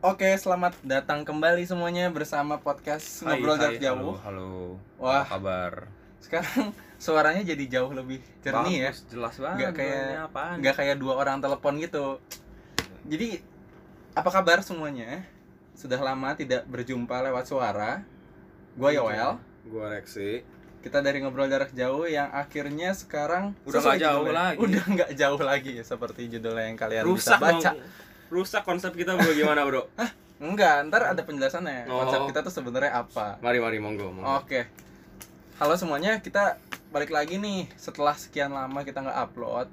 Oke, selamat datang kembali semuanya bersama podcast Hai, Ngobrol hai, Jarak Jauh. Halo, halo. Wah. Apa kabar? Sekarang suaranya jadi jauh lebih jernih ya. Bagus, Jelas banget. Nggak kayak- namanya apaan. Nggak kayak dua orang telepon gitu. Jadi, apa kabar semuanya? Sudah lama tidak berjumpa lewat suara. Gua Iya. Yoel. Gua Rexi. Kita dari Ngobrol Jarak Jauh yang akhirnya sekarang Udah nggak sesuai jauh judulnya. lagi. Udah nggak jauh lagi ya, seperti judulnya yang Ya, kalian rusak bisa baca. dong. Rusak konsep kita bagaimana, Bro? Enggak, ntar ada penjelasannya. Oh. Konsep kita tuh sebenarnya apa. Mari mari monggo. monggo. Oke. Halo semuanya, kita balik lagi nih setelah sekian lama kita nggak upload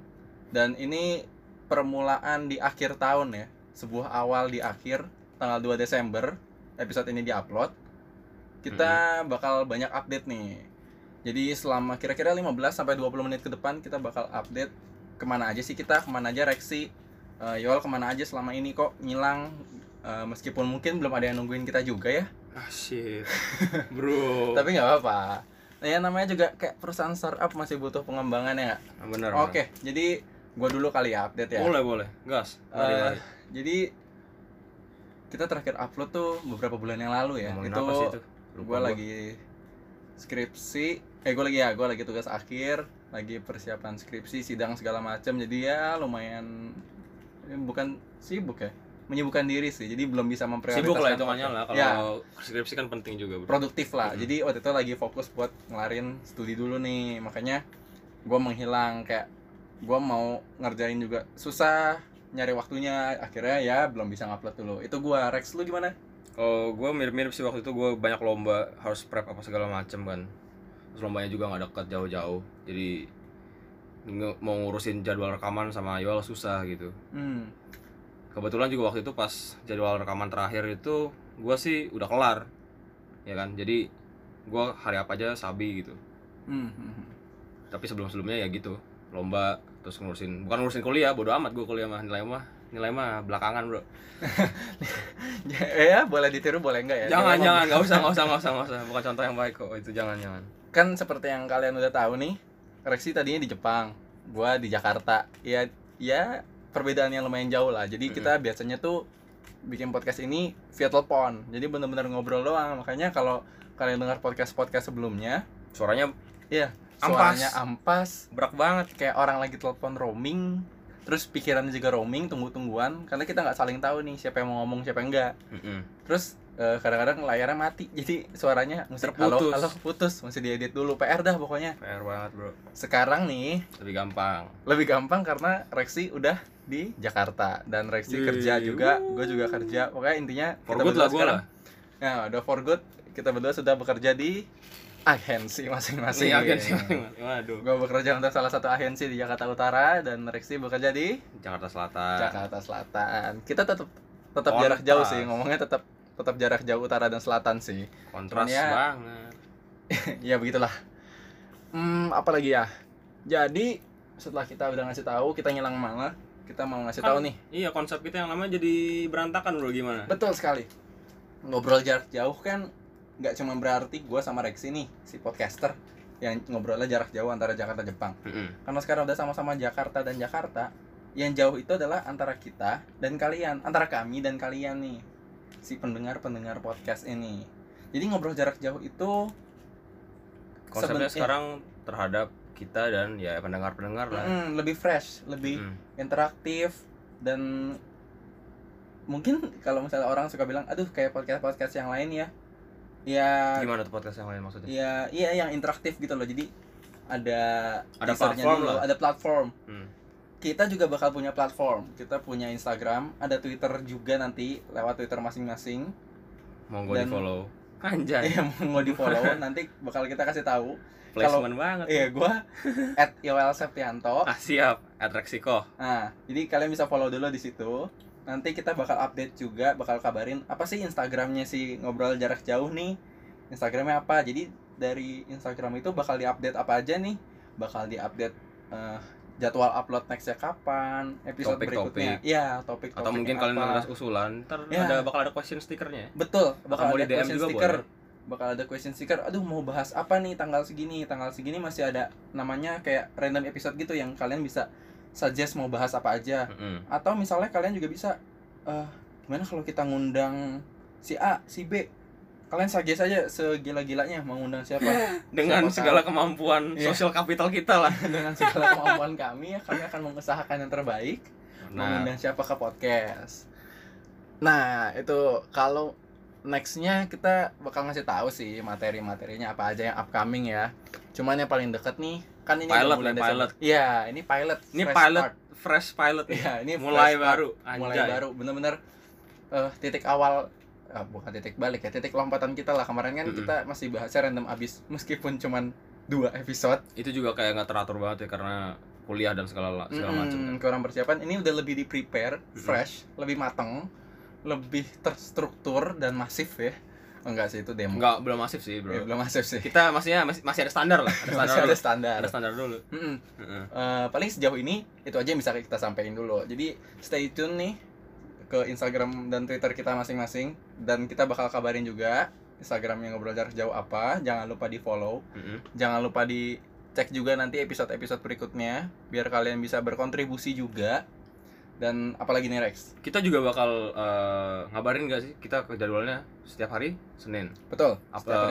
dan ini permulaan di akhir tahun ya. Sebuah awal di akhir tanggal 2 Desember episode ini diupload. Kita bakal banyak update nih. Jadi selama kira-kira 15 sampai 20 menit ke depan kita bakal update kemana aja sih kita, kemana aja Rexi, eh, Yoel kemana aja selama ini kok ngilang eh, meskipun mungkin belum ada yang nungguin kita juga ya. Ah shit. Bro. Tapi nggak apa-apa. Nah, ya namanya juga kayak perusahaan startup masih butuh pengembangan ya nggak? Ah, bener. Oke, jadi gua dulu kali ya update ya. bener. Boleh boleh. Gas. Mari Eh, ya, mari. Jadi kita terakhir upload tuh beberapa bulan yang lalu ya. Ngomongin itu apa sih itu? gua Lupa lagi skripsi, eh gua lagi ya, gua lagi tugas akhir, lagi persiapan skripsi, sidang segala macam. Jadi ya lumayan eh, bukan sibuk ya, menyibukkan diri sih. Jadi belum bisa memprioritaskan. Sibuk lah hitungannya lah kalau Ya. skripsi kan penting juga, Bro. produktif lah. Jadi waktu itu lagi fokus buat ngelarin studi dulu nih. Makanya gua menghilang kayak gua mau ngerjain juga susah nyari waktunya akhirnya ya belum bisa ngupload dulu. Itu gua Rex lu gimana? Kalau gua mirip-mirip sih waktu itu gua banyak lomba harus prep apa segala macem kan. Terus lombanya juga nggak dekat jauh-jauh. Jadi nge- mau ngurusin jadwal rekaman sama Yoel susah gitu. Hmm. Kebetulan juga waktu itu pas jadwal rekaman terakhir itu gua sih udah kelar. Ya kan? Jadi gua hari apa aja sabi gitu. Hmm, hmm, hmm. tapi sebelum sebelumnya ya gitu lomba terus ngurusin bukan ngurusin kuliah bodo amat gue kuliah mah nilai mah nilai mah belakangan bro ya, ya, boleh ditiru boleh enggak ya? jangan Cuma jangan nggak usah nggak usah nggak usah nggak usah bukan contoh yang baik kok itu jangan jangan Kan seperti yang kalian udah tahu nih, Rexi tadinya di Jepang, gua di Jakarta. Ya ya perbedaannya lumayan jauh lah. Jadi kita biasanya tuh bikin podcast ini via telepon. Jadi bener-bener ngobrol doang. Makanya kalau kalian dengar podcast-podcast sebelumnya, suaranya Iya, Ampas. suaranya ampas, berak banget kayak orang lagi telepon roaming, terus pikirannya juga roaming, tunggu-tungguan, karena kita nggak saling tahu nih siapa yang mau ngomong siapa yang enggak. Terus eh, kadang-kadang layarnya mati, jadi suaranya mesti halo, Terputus. halo putus, mesti diedit dulu PR dah pokoknya. PR banget bro Sekarang nih lebih gampang lebih gampang karena Rexi udah di Jakarta dan Rexi Yeay. kerja juga, gue juga kerja. Pokoknya intinya Iya, for kita good berdua lah gue sekarang- lah Nah, udah for good, kita berdua sudah bekerja di agensi masing-masing. Nih, Iya, agensi masing-masing. waduh Gue bekerja untuk salah satu agensi di Jakarta Utara dan Rexi bekerja di Jakarta Selatan Jakarta Selatan. Kita tetap tetap Kontras. jarak jauh sih ngomongnya tetap tetap jarak jauh utara dan selatan sih. kontras Cuman ya- banget ya begitulah. Hmm, apalagi ya. Jadi setelah kita udah ngasih tahu kita ngilang mana, kita mau ngasih Kan- tahu nih. Iya, konsep kita yang lama jadi berantakan bro gimana? Betul sekali. Ngobrol jarak jauh kan nggak cuma berarti gue sama Rexi nih si podcaster yang ngobrolnya jarak jauh antara Jakarta Jepang. Mm-mm. karena sekarang udah sama-sama Jakarta dan Jakarta yang jauh itu adalah antara kita dan kalian antara kami dan kalian nih si pendengar pendengar podcast ini jadi ngobrol jarak jauh itu seben- konsepnya sekarang terhadap kita dan ya pendengar pendengar lah Mm, lebih fresh lebih Mm. interaktif dan mungkin kalau misalnya orang suka bilang aduh kayak podcast podcast yang lain ya Iya, ya gimana tuh podcast yang lain maksudnya ya iya yang interaktif gitu loh jadi ada Ada teasernya platform lah. ada platform Mm. kita juga bakal punya platform. Kita punya Instagram, ada Twitter juga nanti lewat Twitter masing-masing. mau gue Dan- di follow anjay Yang mau di follow nanti bakal kita kasih tahu. placement banget Iya, gua at Yoel Septianto. ah siap atraksi kok Nah, jadi kalian bisa follow dulu di situ. Nanti kita bakal update juga, bakal kabarin apa sih Instagramnya si ngobrol jarak jauh nih. Instagramnya apa? Jadi dari Instagram itu bakal diupdate apa aja nih? Bakal diupdate eh, jadwal upload nextnya kapan, episode Topik-topik. berikutnya. Iya, topik-topik. atau mungkin kalian apa. ngeras usulan ntar Ya. ada bakal ada question stikernya Betul, bakal Atau mau ada di DM question juga sticker. boleh. Bakal ada question sticker. Aduh, mau bahas apa nih tanggal segini? Tanggal segini masih ada namanya kayak random episode gitu yang kalian bisa suggest mau bahas apa aja. Mm-mm. Atau misalnya kalian juga bisa eh gimana kalau kita ngundang si A, si B? Kalian sage saja segila-gilanya mau ngundang siapa Siapa dengan tahu. segala kemampuan Iya. sosial kapital kita lah. dengan segala kemampuan kami ya kami akan mengusahakan yang terbaik Nah, mengundang siapa ke podcast. Nah, itu kalau nextnya kita bakal ngasih tahu sih materi-materinya apa aja yang upcoming ya. Cuman yang paling deket nih kan ini udah Pilot bulan nih, Desember. pilot. Iya, ini pilot. ini fresh pilot start. fresh pilot nih. Iya, ini mulai fresh start, baru, mulai anjay. baru bener-bener eh, titik awal ah, bukan titik balik ya, titik lompatan kita lah. Kemarin kan Mm-mm. kita masih bahasnya random abis meskipun cuman dua episode. Itu juga kayak nggak teratur banget ya karena kuliah dan segala segala macam kan. Mm, kurang persiapan ini udah lebih di prepare Mm-mm. fresh lebih mateng lebih terstruktur dan masif ya enggak sih itu demo Enggak kan. Iya, belum masif sih, Ya, Bro. belum masif sih Kita maksudnya masih, masih ada standar lah, ada standar masih dulu. ada standar Ada standar dulu. Mm-mm. Heeh. Eh, paling sejauh ini itu aja yang bisa kita sampaikan dulu jadi stay tune nih ke Instagram dan Twitter kita masing-masing dan kita bakal kabarin juga Instagramnya ngobrol jarak jauh apa jangan lupa di follow Heeh. jangan lupa di cek juga nanti episode-episode berikutnya biar kalian bisa berkontribusi juga dan apalagi nih Rex Kita juga bakal eh, ngabarin gak sih kita ke jadwalnya setiap hari Senin. Betul. Apa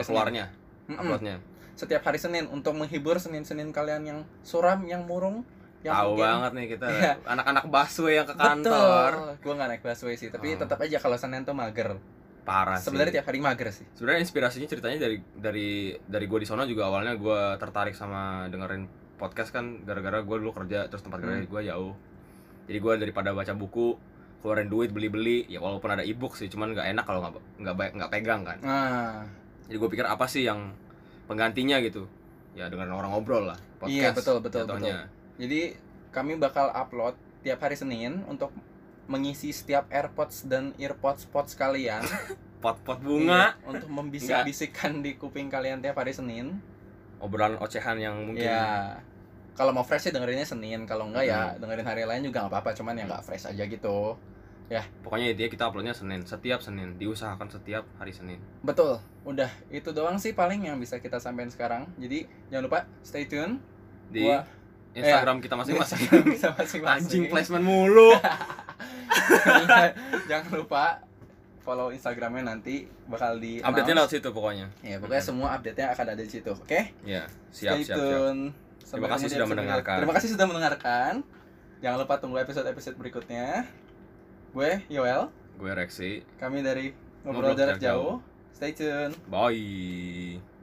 hari Senin. keluarnya, Mm-mm. uploadnya. Setiap hari Senin untuk menghibur Senin-Senin kalian yang suram, yang murung, yang Tahu mungkin- banget nih kita Iya. anak-anak busway yang ke Betul. kantor. Gua nggak naik busway sih, tapi Hmm. tetap aja kalau Senin tuh mager. Parah sih. Sebenarnya tiap hari mager sih. sebenarnya inspirasinya ceritanya dari dari dari gue di sono juga awalnya gue tertarik sama dengerin podcast kan gara-gara gue dulu kerja terus tempat Hmm. kerja gue jauh jadi gue daripada baca buku keluarin duit beli-beli ya walaupun ada e-book sih cuman nggak enak kalau nggak nggak ba- nggak pegang kan Nah, jadi gue pikir apa sih yang penggantinya gitu ya dengerin orang ngobrol lah Iya, podcast betul, betul, jatuhnya. jadi kami bakal upload tiap hari Senin untuk mengisi setiap AirPods dan earpods pods kalian pot-pot bunga Iya, untuk membisik-bisikkan di kuping kalian tiap hari Senin. Iya. obrolan ocehan yang mungkin Ya. Kalau mau fresh sih dengerinnya Senin, kalau enggak ya dengerin hari lain juga nggak apa-apa, cuman ya nggak fresh aja gitu. pokoknya intinya kita uploadnya senin setiap senin diusahakan setiap hari senin Betul, udah itu doang sih paling yang bisa kita sampaikan sekarang. Jadi jangan lupa stay tune di Gua- eh, Instagram kita masing-masing bisa masing-masing. Anjing placement mulu. jangan lupa follow Instagramnya nanti bakal di Update-nya lewat situ pokoknya. Ya pokoknya semua update-nya akan ada di situ. Oke, Iya, siap stay siap siap. tune. Sampai Terima kasih ketemu di sudah episode mendengarkan. berikutnya. Terima kasih sudah mendengarkan. Jangan lupa tunggu episode-episode berikutnya. Gue Yoel, Gue Rexi. kami dari Ngobrol Jarak Jauh. Stay tune. Bye.